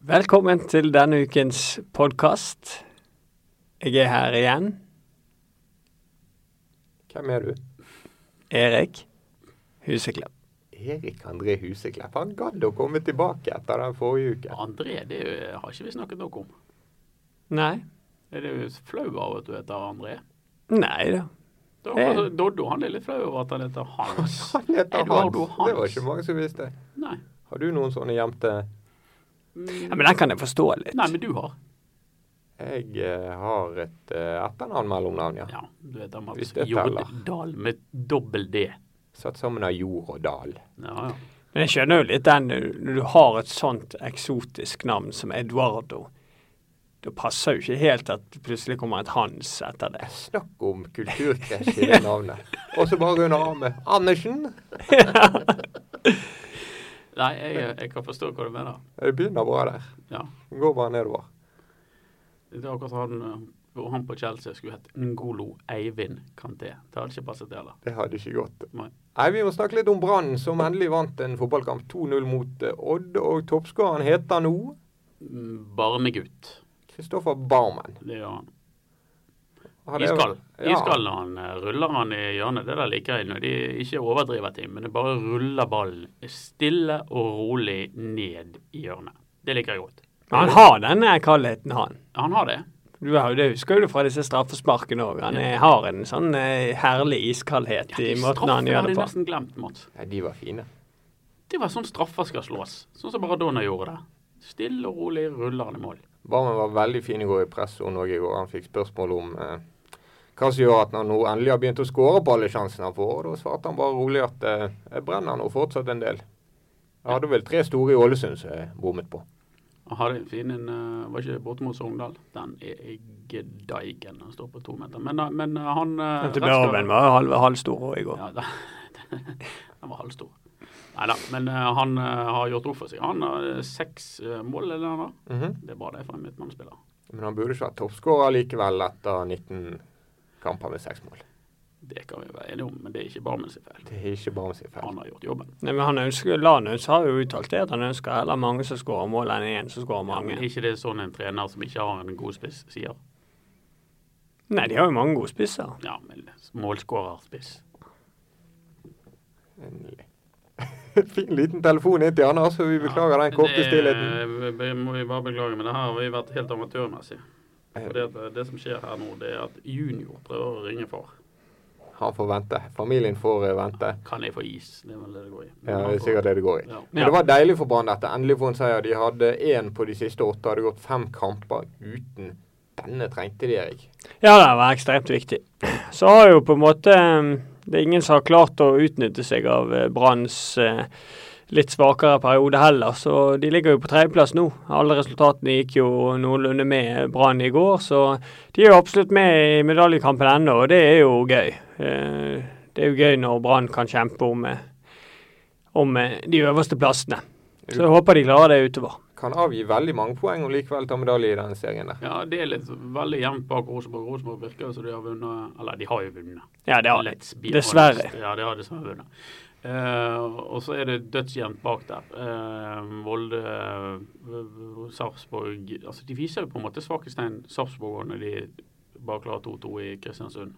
Velkommen til denne ukens podkast. Jeg er her igjen. Hvem er du? Erik Huseklepp. Erik André Huseklepp. Han gadd å komme tilbake etter den forrige uken. André, det er- har ikke vi snakket nok om. Nei. Er det jo flau av at du heter André? Nei da. Da, Hey. altså, Doddo han er litt flau over at han heter Hans. Eh. Han heter Hans. Eduardo Hans. Det var ikke mange som visste. Nei. Mm. Har du noen sånne gjemte Ja, men den kan jeg forstå litt. Nei, men du har. Jeg eh, har et eh, etternavn mellomnavn, ja. Ja, du heter Hvis Mats det teller. Jordal med dobbel D. Satt sammen av jord og dal. Ja, ja. Men jeg skjønner jo litt den når du har et sånt eksotisk navn som Eduardo. Da passer jo ikke helt at det plutselig kommer et Hans etter det. Snakk om kulturkrasj i det navnet. Og så bare under armen. Andersen! Nei, jeg, jeg kan forstå hva du mener. Det begynner bra der. Ja. Går bare nedover. Det er akkurat han, eh, hvor han på Chelsea skulle hett Ngolo Eivind Kanté. Det hadde ikke passet det heller. Det hadde ikke gått. Nei. Nei, Vi må snakke litt om Brann, som endelig vant en fotballkamp 2-0 mot eh, Odd. Og toppskåreren heter nå Mm, Barnegutt. Kristoffer Barmen. Det gjør han. Har det- Iskald. Ja. Iskald når han eh, ruller han i hjørnet. Det der liker jeg når de ikke overdriver ting, men det bare ruller ballen stille og rolig ned i hjørnet. Det liker jeg godt. Men han har denne kaldheten, han. Han har det. Du har jo det husker jo du fra disse straffesparkene òg. Han eh, har en sånn eh, herlig iskaldhet i måten han Straffen gjør det hadde jeg på. nesten glemt, Mats. Nei, de var fine. Det var sånn straffer skal slås. Sånn som Maradona gjorde det. Stille og rolig ruller han i mål. Barmen var veldig fin i går i pressoen òg i går. Han fikk spørsmål om eh, hva som gjør at han nå endelig har begynt å skåre på alle sjansene han får. Og da svarte han bare rolig at eh, jeg brenner nå fortsatt en del. Jeg hadde vel tre store i Ålesund som jeg bommet på. Han hadde en fin en eh, Var ikke det borte mot Sogndal? Den er i gedeigen. Han står på to meter. Men, eh, men eh, han eh, Den til rett skal- Børven var halv, halvstor også i går. Ja, da, den var halvstor. Nei da, men eh, han eh, har gjort opp for seg. Han har eh, seks eh, mål, eller noe. Mhm. Det er bra det for en midtbanespiller. Men han burde ikke vært toppskårer likevel etter 19 kamper med seks mål. Det kan vi være enige om, men det er ikke Barmen sin feil. Det er ikke Barmen sin feil. Han har gjort jobben. Nei, men han ønsker, Lanus har jo uttalt det, at han ønsker heller mange som skårer mål, enn én som skårer Ja, men er mange. ikke det sånn en trener som ikke har en god spiss, sier? Nei, de har jo mange gode spisser. Ja, men målskårerspiss. Endelig. fin liten telefon inn til Anders, så vi beklager den korte stillheten. Det eh, må vi bare beklage, men det her har vi vært helt amatørmessig. For Det, at eh, det som skjer her nå, det er at junior prøver å ringe far. Han får vente. Familien får eh, vente. Kan jeg få is? Det er vel det det går i. Ja, det er sikkert det det går i. Ja. Men det var deilig for Brann dette. Endelig få en seier. De hadde én på de siste åtte. Hadde gått fem kamper uten. Denne trengte de, Erik. Ja, det var ekstremt viktig. Så har jo på en måte eh, Det er ingen som har klart å utnytte seg av eh, Branns eh, litt svakere periode heller, så de ligger jo på tredjeplass nå. Alle resultatene gikk jo noenlunde med Brann i går, så de er jo absolutt med i medaljekampen ennå, og det er jo gøy. Eh, Det er jo gøy når Brann kan kjempe om, eh, om eh, de øverste plassene. Så jeg håper de klarer det utover. Kan avgi veldig mange poeng og likevel ta medalje i denne serien der. Ja, det er litt veldig jevnt bak Rosenborg. Rosenborg virker jo som de har vunnet Eller de har jo vunnet. Ja, det har de. Let's be Dessverre. honest. Ja, de har dessverre vunnet. Eh, og så er det dødsjevnt bak der. Eh, Volde, eh, Sarpsborg Altså, de viser jo på en måte svakhetstegn Sarpsborg også når de bare klarer 2-2 i Kristiansund.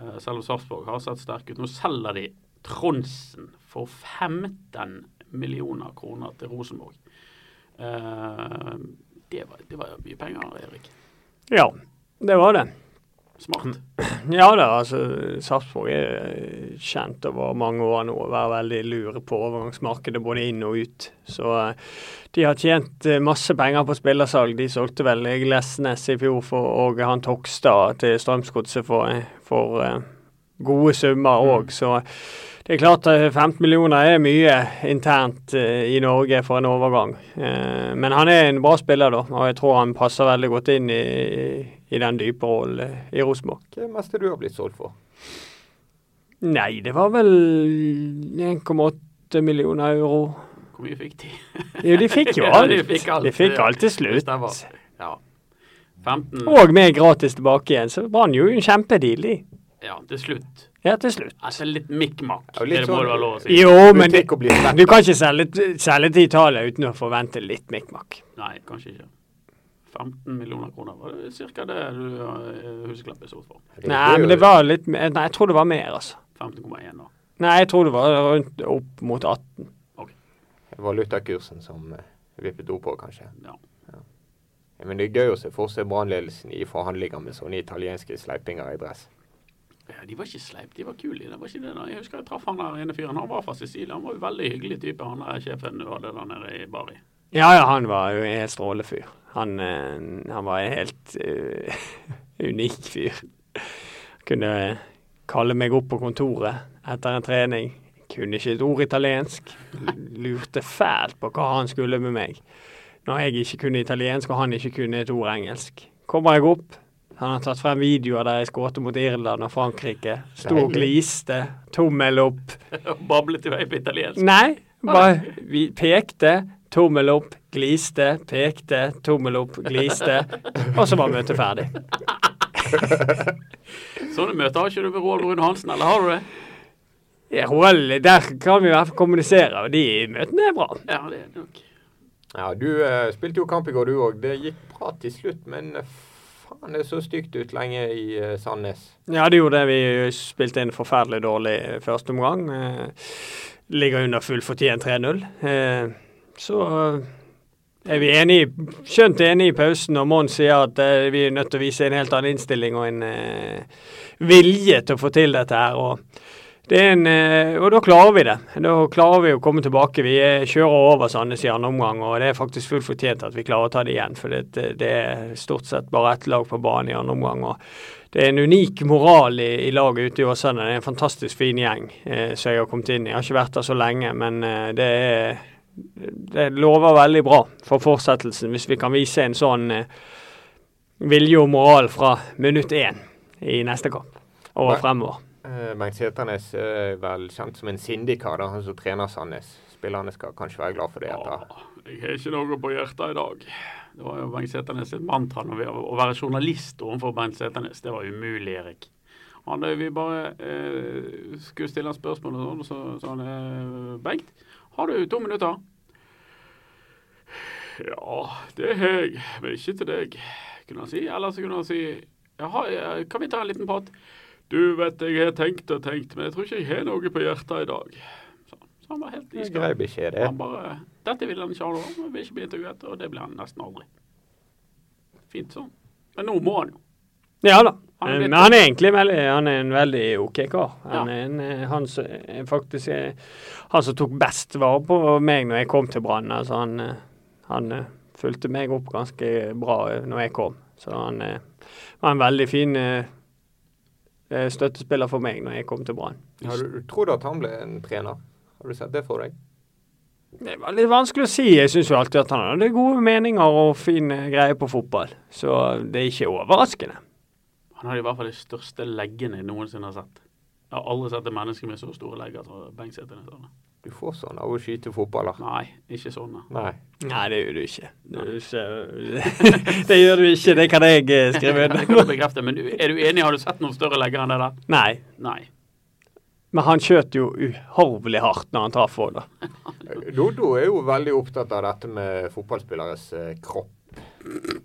Eh, selv om Sarpsborg har sett sterke ut. Nå selger de Tronsen for 15 millioner kroner til Rosenborg. Eh, det, var, det var mye penger, Erik. Ja, det var det. Smart. Mm. Ja da, altså Sarpsborg er eh, kjent over mange år nå å være veldig lure på overgangsmarkedet både inn og ut. Så eh, de har tjent eh, masse penger på spillersalg. De solgte vel Glesnes i fjor for, og han Tokstad til Strømsgodset for, for eh, gode summer òg, så det er klart eh, 15 millioner er mye internt eh, i Norge for en overgang. Eh, Men han er en bra spiller, da, og jeg tror han passer veldig godt inn i, i den dype rollen eh, i Rosenborg. Hva er det meste du har blitt solgt for? Nei, det var vel 1,8 millioner euro. Hvor mye fikk de? Jo, de fikk jo Ja, alt. de fikk alt, De fikk ja. alt til Det slutt. stemmer. Ja. 15 Og med gratis tilbake igjen, så var han jo en kjempedeal, de. Ja, til slutt. Ja, til slutt. Altså litt mikk-makk. Ja, litt det må sånn- det være lov å si. Jo, men det, Butikk og bli svett. du kan ikke selge, t- selge til Italia uten å forvente litt mikk-makk. Nei, kanskje ikke. 15 millioner kroner var det cirka det du eh, Huseklepp er solgt for. Det Nei, er jo- men det var litt mer Nei, jeg tror det var mer, altså. 15,1 da. Nei, jeg tror det var rundt opp mot 18. valutakursen som eh, vippet opp på, kanskje. Ja. Ja, Men det er gøy å se for seg brannledelsen i forhandlinger med sånne italienske sleipinger i dress. Ja, De var ikke sleip, de var kule. Det var ikke det da. Jeg husker jeg traff han der ene fyren. Han var fra Sicilia. Han var jo veldig hyggelig type, han der sjefen du hadde der nede i Bari. Ja, ja, han var jo en helt strålefyr. Han, eh, han var en helt eh, unik fyr. Kunne kalle meg opp på kontoret etter en trening. Kunne ikke et ord italiensk. Lurte fælt på hva han skulle med meg. Når jeg ikke kunne italiensk og han ikke kunne et ord engelsk. Kommer jeg opp, han har tatt frem videoer der jeg skåret mot Irland og Frankrike. Sto og gliste. Tommel opp. Og bablet i vei på italiensk. Nei, bare vi pekte, tommel opp, gliste, pekte, tommel opp, gliste. Og så var møtet ferdig. Sånne møter har ikke du med Roald Brun Hansen, eller har du det? Ja, Roald, der kan vi i hvert fall kommunisere, og de møtene er bra. Ja, det er nok. Ja, du eh, spilte jo kamp i går, du òg. Det gikk bra til slutt, men eh, faen, det så stygt ut lenge i eh, Sandnes. Ja, det gjorde det. Vi spilte inn forferdelig dårlig første omgang. Eh, Ligger under full fortjent 3-0. Eh, Så eh, er vi enige, skjønt enige i pausen når Mons sier at eh, vi er nødt til å vise en helt annen innstilling og en eh, vilje til å få til dette her. Og, det er en, eh, og da klarer vi det. Da klarer vi å komme tilbake. Vi eh, kjører over Sandnes i andre omgang, og det er faktisk fullt fortjent at vi klarer å ta det igjen. For det, det- det er stort sett bare ett lag på banen i andre omgang. og det er en unik moral i, i laget ute i Åsane. Det er en fantastisk fin gjeng eh, som jeg har kommet inn i. Jeg har ikke vært der så lenge, men eh, det, er, det lover veldig bra for fortsettelsen hvis vi kan vise en sånn eh, vilje og moral fra minutt én i neste kamp og Nei. fremover. Eh, Bengt Seternes er vel kjent som en sindig kar, da, han som trener Sandnes. Spillerne skal kanskje være glad for det. etter. Ah, Åh, jeg har ikke noe på hjertet i dag. Det var jo Bengt Seternes sitt mantra når vi, å være journalist overfor Bengt Seternes. Det var umulig, Erik. Han, eh, vi bare eh, skulle stille han spørsmål, og sånn, og så sa han eh, Bengt, har du to minutter? Ja, det har jeg, men ikke til deg, kunne han si. Eller så kunne han si Jaha, eh, kan vi ta en liten prat? Du vet, jeg har tenkt og tenkt, men jeg tror ikke jeg har noe på hjertet i dag. Så, så han var helt Det er iskald. grei beskjed, det. Han bare 'Dette vil han ikke ha, da. Han vil ikke bli intervjuet.' Og det blir han nesten aldri. Fint sånn. Men nå må han jo. Ja da. Han Eh, er litt- Men han er egentlig veldig, han er en veldig ok kar. Han Ja. er en, eh, han som er faktisk eh, han som tok best vare på meg når jeg kom til Brann. Altså han, eh, han eh, fulgte meg opp ganske bra eh, når jeg kom. Så han eh, var en veldig fin eh, eh, støttespiller for meg når jeg kom til Brann. Har du, tror du at han ble en trener? Har du sett det for deg? Det var litt vanskelig å si. Jeg syns jo alltid at han hadde gode meninger og fin eh, greie på fotball. Så det er ikke overraskende. Han hadde i hvert fall de største leggene jeg noensinne har sett. Jeg har aldri sett et menneske med så store legger som Bengt Sæthernes hadde. Du får sånn av å skyte fotballer. Nei, ikke sånn, sånne. Nei. Nei, det gjør du ikke. Du ser- det gjør du ikke, det kan jeg eh, skrive Det kan du under. bekrefte, men du- er du enig? Har du sett noen større legger enn det der? Nei, Nei. men han skjøt jo uhorvelig hardt når han traff Våler. Dodo er jo veldig opptatt av dette med fotballspilleres eh, kropp.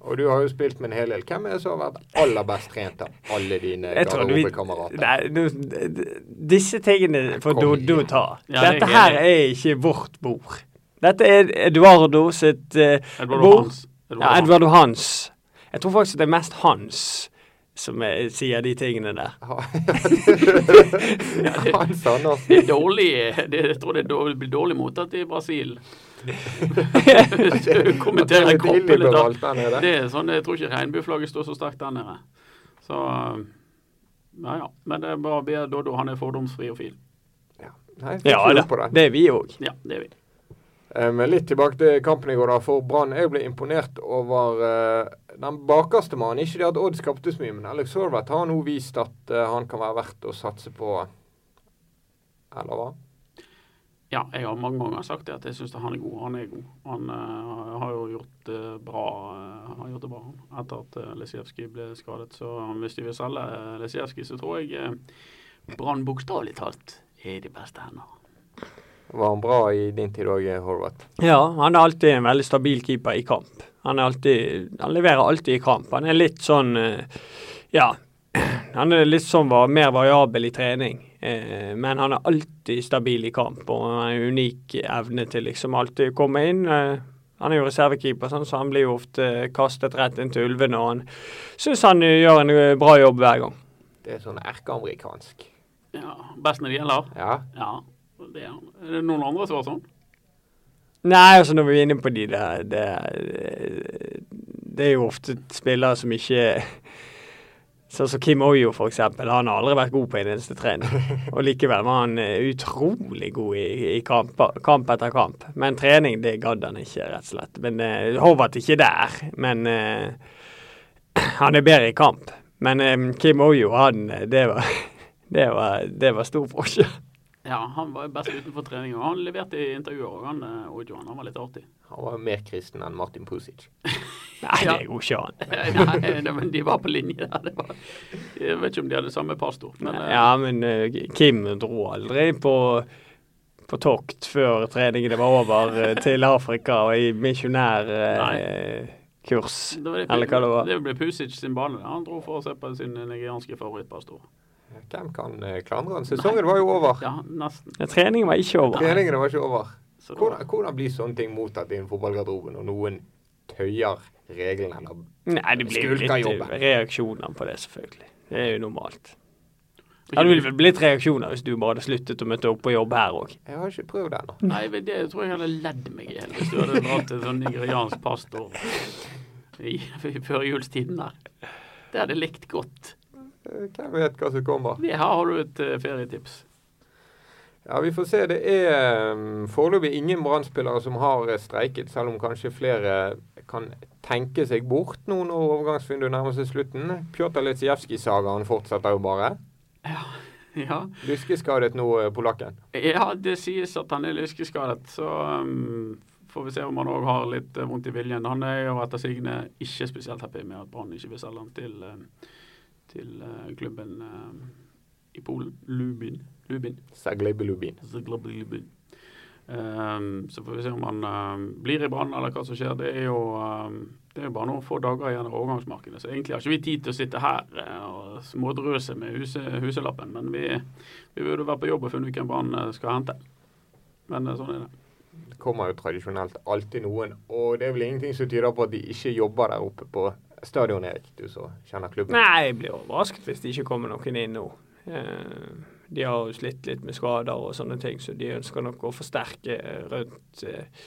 Og du har jo spilt med en hel del. Hvem er det som har vært aller best trent av alle dine Jeg tror vi- garderobekamerater? Nei, nå- d- d- Disse tingene får Kom Doddo igjen. ta. Ja, det er Dette jeg her enig er ikke vårt bord. Dette er Eduardo sitt eh, Edvard bord. Hans. Ja, Edvard og Hans. Jeg tror faktisk det er mest Hans som eh, sier de tingene der. Hans Andersen. Det er dårlig, det, jeg tror det er dårlig, blir dårlig mottatt i Brasil. Hvis du kommenterer Det er kroppen billig litt da. bevalt der nede. Det er sånn, jeg tror ikke regnbueflagget står så sterkt der nede. Så eh, ja, ja. Men det er bare å be Doddo, han er fordomsfri og fin. Ja. Nei, jeg får Ja ikke da, gjort på det. det er vi òg. Ja, det er vi. Eh, Men litt tilbake til kampen i går, da. For Brann Jeg ble imponert over eh, den bakerste mannen. Ikke det at Odd skapte så mye, men Alex Horvath har nå vist at eh, han kan være verdt å satse på. Eller hva? Ja, jeg har mange ganger sagt det at jeg syns han er god. Han er god. Han eh, har jo gjort eh, bra eh, har kjørte bra han, etter at eh, Lesijevskij ble skadet. Så hvis de vil selge eh, Lesijevskij, så tror jeg eh, Brann bokstavelig talt er i de beste hender. Var han bra i din tid òg, Horvath? Ja, han er alltid en veldig stabil keeper i kamp. Han, er alltid, han leverer alltid i kamp. Han er litt sånn eh, Ja. Han er litt sånn var, mer variabel i trening, eh, men han er alltid stabil i kamp. Og han har en unik evne til liksom alltid å komme inn. eh, Han er jo reservekeeper, sånn, så han blir jo ofte kastet rett inn til ulvene. Og han syns han eh, gjør en eh, bra jobb hver gang. Det er sånn erkeamerikansk. Ja, Best når det gjelder? Ja. Ja, det er han. Er det noen andre som har sånn? Nei, altså når vi er inne på de der Det, det er jo ofte spillere som ikke Sånn som Kim Oyo, for eksempel. Han har aldri vært god på en eneste trening. Og likevel var han eh, utrolig god i, i kamp, kamp etter kamp. Men trening, det gadd han ikke, rett og slett. Men eh, Håvard er ikke der. Men eh, han er bedre i kamp. Men eh, Kim Oyo, han eh, Det var, det var, det var stor forskjell. Ja, han var best utenfor trening. Og han leverte i intervjuer òg, han eh, Ojo. Han var litt artig. Han var mer kristen enn Martin Pusic. Nei, Ja. det går ikke an. Nei, nei, men de var på linje der. Det var, jeg vet ikke om de hadde samme pastor. Men, eh, Ja, men eh, Kim dro aldri på, på tokt før treningene var over eh, til Afrika og i misjonærkurs. det var det, Eller hva det var. det ble Pusic sin bane. Han dro for å se på sin nigerianske favorittpastor. Hvem kan eh, klandre han? Sesongen var jo over. Ja, nesten. Ja, treningen var ikke over. Treningene var ikke over. Så det var- Hvordan, hvordan blir sånne ting mottatt i en fotballgarderobe når noen tøyer reglene? Eller Nei, det blir jo litt Skulka jobben. eh, reaksjoner på det, selvfølgelig. Det er jo normalt. Ja, det ville vel blitt reaksjoner hvis du bare hadde sluttet å møte opp på jobb her òg. jeg har ikke prøvd det ennå. Nei, men det tror jeg hadde ledd meg i hjel hvis du hadde dratt en sånn nigeriansk pastor i, i førjulstiden der. Det hadde jeg likt godt. Eh, Hvem vet hva som kommer. Det her har du et eh, ferietips. Ja, Vi får se. Det er eh, foreløpig ingen Brann-spillere som har eh, streiket, selv om kanskje flere kan tenke seg bort nå når overgangsvinduet nærmer seg slutten. Pjotr Litsijevskij-sagaen fortsetter jo bare. Ja. Lyskeskadet nå, eh, polakken. Ja, det sies at han er lyskeskadet, så um, får vi se om han òg har litt eh, vondt i viljen. Han er jo etter sigende ikke spesielt happy med at Brann ikke vil selge han til, eh, til eh, klubben eh, i Polen, Lubin. Lubin. Zagleb Lubin. Zagreb Lubin. Um, så får vi se om han eh, blir i Brann eller hva som skjer. Det er jo eh, det er jo bare noen få dager igjen av overgangsmarkedet, så egentlig har ikke vi tid til å sitte her eh, og smådrøse med huse, huselappen. Men vi, vi burde vært på jobb og funnet ut hvem Brann eh, skal hente. Men eh, sånn er det. Det kommer jo tradisjonelt alltid noen, og det er vel ingenting som tyder på at de ikke jobber der oppe på stadion, Erik, du som kjenner klubben. Nei, jeg blir overrasket hvis det ikke kommer noen inn nå. Eh, De har jo slitt litt med skader og sånne ting, så de ønsker nok å forsterke eh, rundt eh,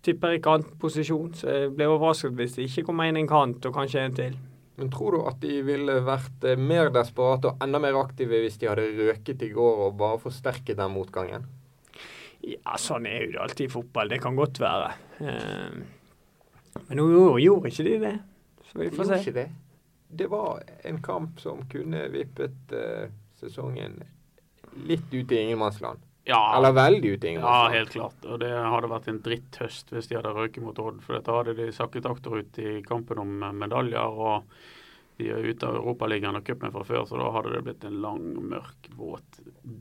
Tipper i kantposisjon, så jeg blir overrasket hvis det ikke kommer inn en kant og kanskje en til. Men tror du at de ville vært eh, mer desperate og enda mer aktive hvis de hadde røket i går og bare forsterket den motgangen? Ja, sånn er jo det alltid i fotball. Det kan godt være. Eh, Men nå gjorde, gjorde ikke de det, så vi De får gjorde se. ikke det. Det var en kamp som kunne vippet eh, sesongen litt ut i ingenmannsland. Ja, Eller veldig ut i ja, ingenmannsland. helt klart. Og det hadde vært en dritthøst hvis de hadde røket mot Odd. For da hadde de sakket akterut i kampen om eh, medaljer. og de er ute av Europaligaen og cupen fra før, så da hadde det blitt en lang, mørk, våt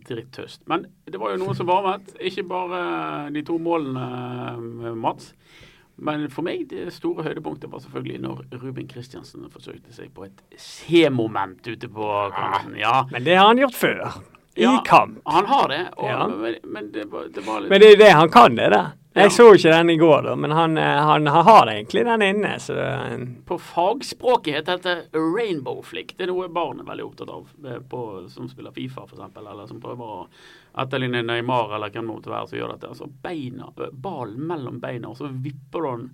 dritthøst. Men det var jo noen som varmet. Ikke bare de to målene, eh, Mats. Men for meg det store høydepunktet var selvfølgelig når Ruben Kristiansen forsøkte seg på et C-moment ute på kanten. Ja. Men det har han gjort før. I Ja, kamp. Han har det, og, Ja. men, men det, var, det var litt Men det er jo det han kan, det der. Ja. Jeg så ikke den i går, da, men han, eh, han har det egentlig den inne. Så eh, det er en På fagspråket heter dette rainbow flick. Det er noe barn er veldig opptatt av, eh, på, som spiller Fifa f.eks., eller som prøver å etterligne Neymar eller hvem det måtte være som gjør dette. Altså beina, eh, ballen mellom beina, og så vipper du den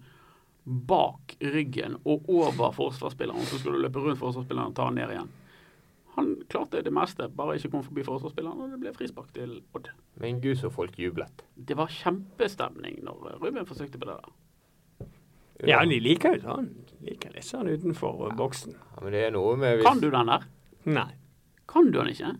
bak ryggen og over forsvarsspilleren. Så skal du løpe rundt forsvarsspilleren og ta den ned igjen. Han klarte det meste, bare ikke kom forbi forsvarsspilleren, og det ble frispark til Odd. Men gud, så folk jublet. Det var kjempestemning når Ruben forsøkte på det der. Ja, de liker jo sånn. De liker litt sånn utenfor eh, boksen. Ja, men det er noe med hvis Kan du den der? Nei. Kan du den ikke?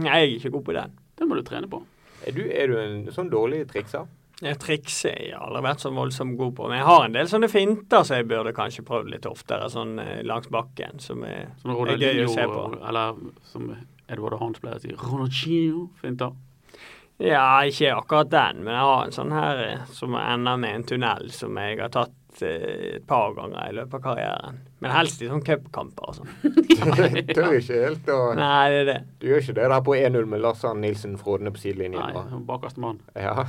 Nei, jeg er ikke god på den. Den må du trene på. Er du, er du en sånn dårlig trikser? Jeg trikser jeg har aldri vært så voldsomt god på. Men jeg har en del sånne finter som jeg burde kanskje prøvd litt oftere, sånn eh, langs bakken, som er Sånn Det er gøy å se Ronaldinho, eller som Edward Hans pleier å si, Ronaldinho-finter. Ja, ikke akkurat den, men jeg har en sånn her eh, som ender med en tunnel som jeg har tatt eh, et par ganger i løpet av karrieren. Men helst i sånne cupkamper og sånn. Jeg tør ikke helt å Nei, det er det. Du gjør ikke det der på 1-0 med Lars Arne Nilsen frådende på sidelinjen. Nei, da. bakerste mann. Ja.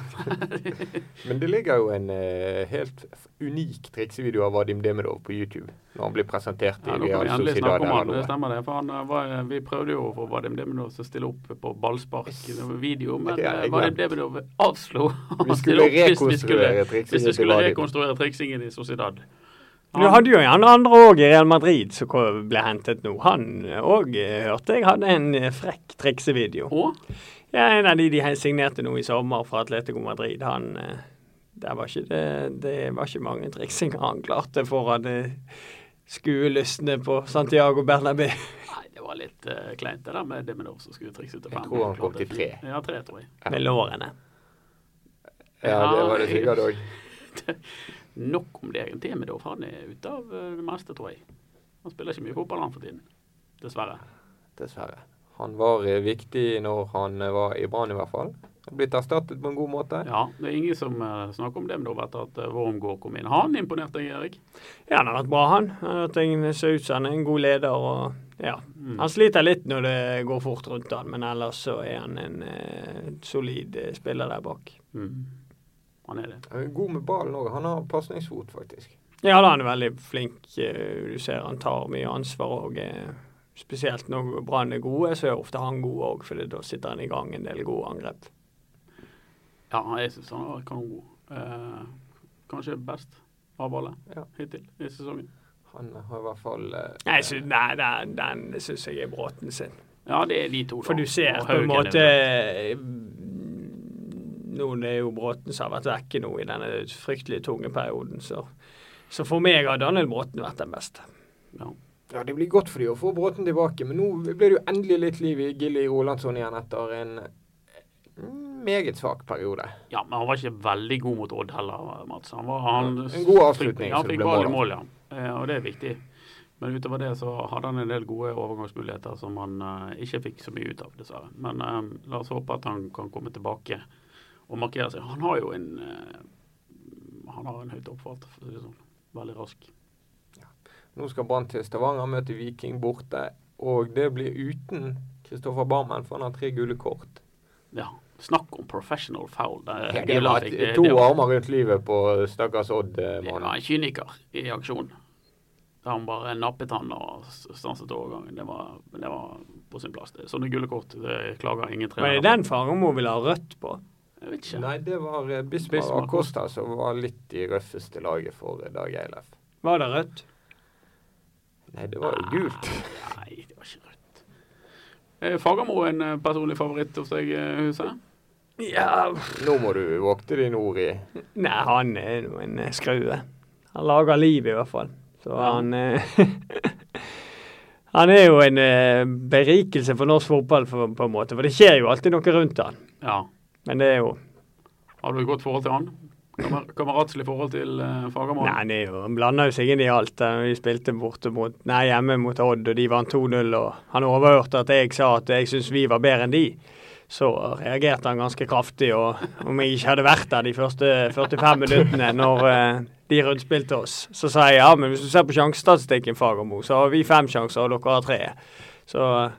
Men det ligger jo en eh, helt f- unik triksevideo av Vadim Demidov på YouTube. Når han blir presentert Ja, i nå kan vi Real endelig Sociedad. snakke om eller han, det noe. stemmer det. For han eh, var, vi prøvde jo å få Vadim Deminov til å stille opp på ballspark i noen video, men Det har eh, jeg Vadim glemt. Deminov avslo Vi å stille skulle opp hvis rekonstruere triksingen vi skulle, hvis vi til skulle Vadim. rekonstruere triksingen i Sociedad. Du hadde jo en andre òg i Real Madrid som ko- ble hentet nå. Han òg hørte jeg hadde en eh, frekk triksevideo. Og Ja, en av de de signerte nå i sommer fra Atletico Madrid, han eh, der var ikke det, det var ikke mange triksinger han klarte foran eh, skuelystne på Santiago Bernabeu. Nei, det var litt eh, kleint det der med Deminov som skulle trikse ut av Jeg fem. tror han kom til tre. Ja, tre, tror jeg. Med lårene. Ja, det var det sikkert òg. Nok om det egentlig. Demidov han er ute av eh, det meste, tror jeg. Han spiller ikke mye fotball han for tiden. Dessverre. Dessverre. Han var eh, viktig når han eh, var i Brann, i hvert fall. Han er Blitt erstattet på en god måte. Ja, det er ingen som eh, snakker om Demidov etter at uh, Wormgård kom inn. Har han imponert deg, Erik? Ja, han har vært bra, han. Han har tenkt seg ut som han er en god leder og ja. Mm. Han sliter litt når det går fort rundt han, men ellers så er han en eh, solid eh, spiller der bak. Mm. Han er det. Han er God med ballen òg. Han har pasningsfot, faktisk. Ja, da er han veldig flink. eh, Du ser han tar mye ansvar og eh, spesielt når Brann er gode, så er ofte han god òg, for da sitter han i gang en del gode angrep. Ja, jeg syns han var kanongod. Eh, kanskje best av alle Ja. hittil i sesongen. Han har i hvert fall eh, Nei, jeg sy- nei den, den syns jeg er Bråten sin. Ja, det er de to. da. For du ser Og på en Haugen måte eh, er Nå det er jo Bråten som har vært vekke nå i denne fryktelig tunge perioden, så så for meg har Daniel Bråten vært den beste. vel- Ja. Ja, det blir godt for de å få Bråten tilbake, men nå ble det jo endelig litt liv i Gilly Rolandsson igjen etter en mm, meget svak periode. ja, men han var ikke veldig god mot Odd heller, Mats. Han var, han, En god avslutning, så Fikk, ja, det fikk ble ball i mål, mål, ja. Eh, og det er viktig. Men utover det så hadde han en del gode overgangsmuligheter som han eh, ikke fikk så mye ut av, dessverre. Men eh, la oss håpe at han kan komme tilbake og markere seg. Han har jo en eh, Han har en høyt oppfart, for å si det sånn. Veldig rask. Nå skal Brann til Stavanger møte Viking borte, og det blir uten Kristoffer Barmen, for han har tre gule kort. Ja. Snakk om professional foul. Det, Ja, det det var la seg- to det var- armer rundt livet på stakkars eh, Det var Odd-mannen. en kyniker i aksjon. Da han bare nappet han og s- stanset overgangen. Det var, det var på sin plass. Det- Sånne gule kort det klager ingen Men trener det er den Fagermo vil ha rødt på. Jeg vet ikke. Nei, det var eh, Bismar Bismar Acosta som var litt i røffeste laget for eh, Dag Eilef. Var det rødt? Nei, det var jo gult. Ah, Nei, det var ikke rødt. Eh, Fagermo er en eh, personlig favoritt hos deg, eh, Huset? Ja Nå må du vokte deg nord i Nei, han er jo en eh, skrue. Han lager liv, i hvert fall. Så Ja. han eh, Han er jo en eh, berikelse for norsk fotball, for, på en måte. For det skjer jo alltid noe rundt han. Ja. Men det er jo Har du et godt forhold til han? Kamer kameratslig forhold til eh, Fagermo? Nei, han, er jo, han blander jo seg inn i alt. Eh, Vi spilte borte mot Nei, hjemme mot Odd, og de vant 2-0, og han overhørte at jeg sa at jeg syntes vi var bedre enn de. Så reagerte han ganske kraftig, og om jeg ikke hadde vært der de første 45 minuttene når eh, de rundspilte oss, så sa jeg ja, men hvis du ser på sjansestatistikken, Fagermo, så har vi fem sjanser, og dere har tre. Så eh,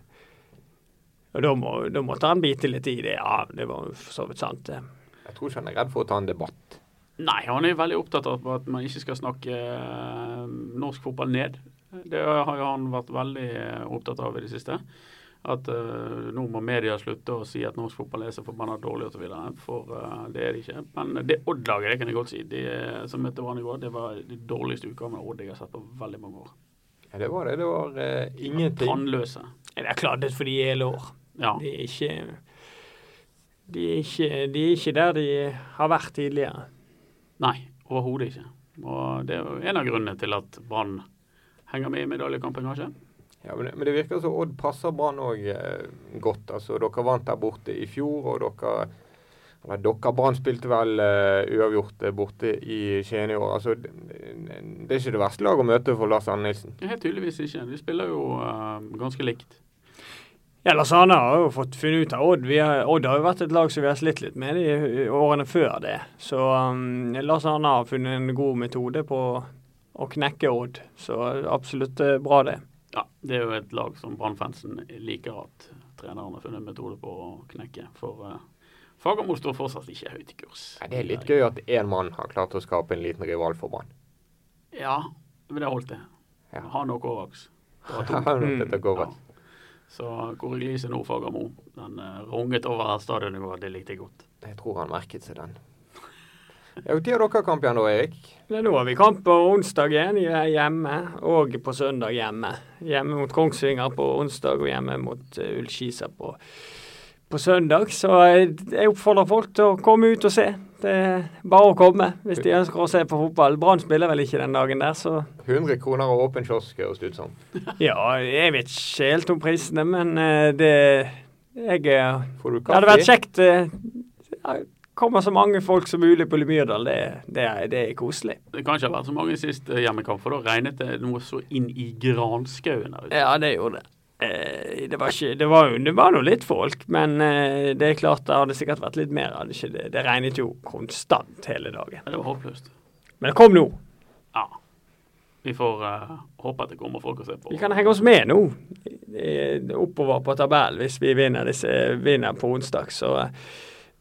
og da, må, da måtte han bite litt i det. Ja, det var jo for så vidt sant, eh. det. Jeg tror ikke han er redd for å ta en debatt. Nei, han er veldig opptatt av at man ikke skal snakke eh, norsk fotball ned. Det har jo han vært veldig eh, opptatt av i det siste. At eh, nå må media slutte å si at norsk fotball er så forbanna dårlig osv. For eh, det er det ikke. Men det Odd-laget, det kan jeg godt si, de eh, som møtte hverandre i går, det var de dårligste utgavene av Odd jeg har sett på veldig mange år. Ja, det var det. Det var eh, ingenting. Tannløse. Det er kladdet fordi jeg er lår. Ja. De er ikke de er ikke, de er ikke der de har vært tidligere. Nei, overhodet ikke. Og det er jo en av grunnene til at Brann henger med i medaljekampen, kanskje. Ja, men, det- men det virker som Odd passer Brann òg eh, godt. Altså, dere vant der borte i fjor, og dere Eller Dokka Brann spilte vel eh, uavgjort eh, borte i Skien i år. Altså, det, det er ikke det verste laget å møte for Lars Arne Nilsen. Helt tydeligvis ikke. De spiller jo eh, ganske likt. Ja, Lars Arne har jo fått funnet ut av Odd. Vi har, Odd har jo vært et lag som vi har slitt litt med de årene før det. Så um, Lars Arne har funnet en god metode på å knekke Odd. Så absolutt eh, bra, det. Ja, Det er jo et lag som Brannfansen liker at treneren har funnet en metode på å knekke. For eh, Fagermo står fortsatt ikke høyt i kurs. Nei, det er litt gøy at én mann har klart å skape en liten rival for Brann. Ja, men det holdt, det. Ja. Han og Kovacs. Det var to. Mm. Dette går vel. Så Kåre Glise nå, Fagermo. Den eh, runget over stadionet i går, det likte jeg godt. Jeg tror han merket seg den. Ja, Når har dere kamp igjen da, Erik? Ja, nå har vi kamp på onsdag igjen ja, hjemme, og på søndag hjemme. Hjemme mot Kongsvinger på onsdag og hjemme mot eh, Ullskisa på, på søndag. Så jeg, jeg oppfordrer folk til å komme ut og se. Det er bare å komme hvis de ønsker å se på fotball. Brann spiller vel ikke den dagen der, så 100 kroner og åpen kiosk, høres det ut som. ja, jeg vet ikke helt om prisene, men eh, det Jeg eh, Får du Det kaffe? hadde vært kjekt. eh, ja, Kommer så mange folk som mulig på Myrdal. Det, det, er- det er koselig. Det kan ikke ha vært så mange sist eh, hjemmekamp, for da regnet det noe så inn i granskauen der ute. Ja, det gjorde det. Eh, det var ikke Det var jo det var nå litt folk, men eh, det er klart det hadde sikkert vært litt mer. Hadde ikke det. det regnet jo konstant hele dagen. Ja, Det var håpløst. Men det kom nå. Ja. Vi får eh, håpe at det kommer folk å se på. Vi kan henge oss med nå eh, oppover på tabellen hvis vi vinner, disse, vinner på onsdag. Så eh,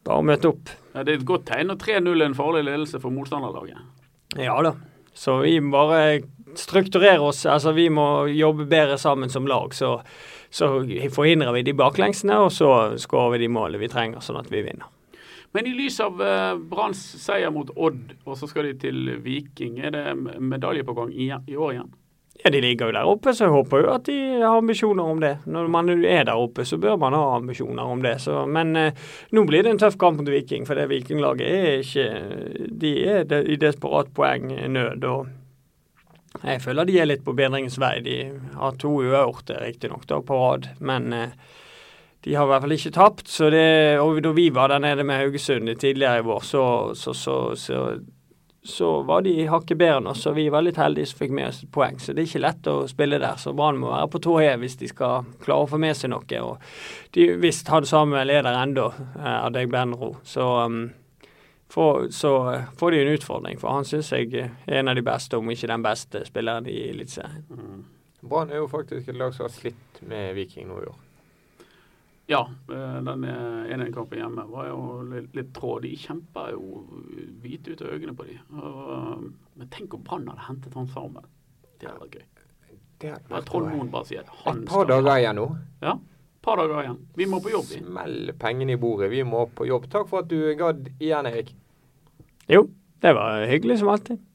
bare møte opp. Ja, det er et godt tegn når 3-0 er en farlig ledelse for motstanderlaget. Ja da. Så vi må bare strukturere oss. Altså vi må jobbe bedre sammen som lag. Så, så forhindrer vi de baklengsene, og så skårer vi de målene vi trenger, sånn at vi vinner. Men i lys av eh, Branns seier mot Odd, og så skal de til Viking. Er det medalje på gang i, i år igjen? Ja, De ligger jo der oppe, så jeg håper jo at de har ambisjoner om det. Når man er der oppe, så bør man ha ambisjoner om det. Så, men eh, nå blir det en tøff kamp mot Viking, for det Vikinglaget er ikke De er de, i desperat poengnød. og jeg føler de er litt på bedringens vei. De har to uavgjorte, riktignok, da, på rad. Men eh, de har i hvert fall ikke tapt. Så det, og da vi var der nede med Haugesund tidligere i vår, så, så, så, så så var de hakket bedre enn oss, og vi var litt heldige som fikk med oss et poeng. Så det er ikke lett å spille der, så Brann må være på tå hev hvis de skal klare å få med seg noe. Og de visst hadde samme leder ennå, eh, Adeg Benro, så, um, får- så eh, får de en utfordring. For han syns jeg eh, er en av de beste, om ikke den beste, spilleren i Eliteserien. Mm. Brann er jo faktisk et lag som har slitt med Viking nå i år. Ja, eh, den 1-1-kampen hjemme var jo litt, litt trå. De kjempa jo hvite ut av øynene på de. Og, eh, Men tenk om Brann hadde hentet han sammen. Det hadde vært gøy. Det hadde Bare vært Trond noe. Moen bare sier at han Et par dager igjen nå. Ja, et par dager igjen. Vi må på jobb, vi. Smell pengene i bordet. Vi må på jobb. Takk for at du gadd igjen, Erik. Jo, det var hyggelig som alltid.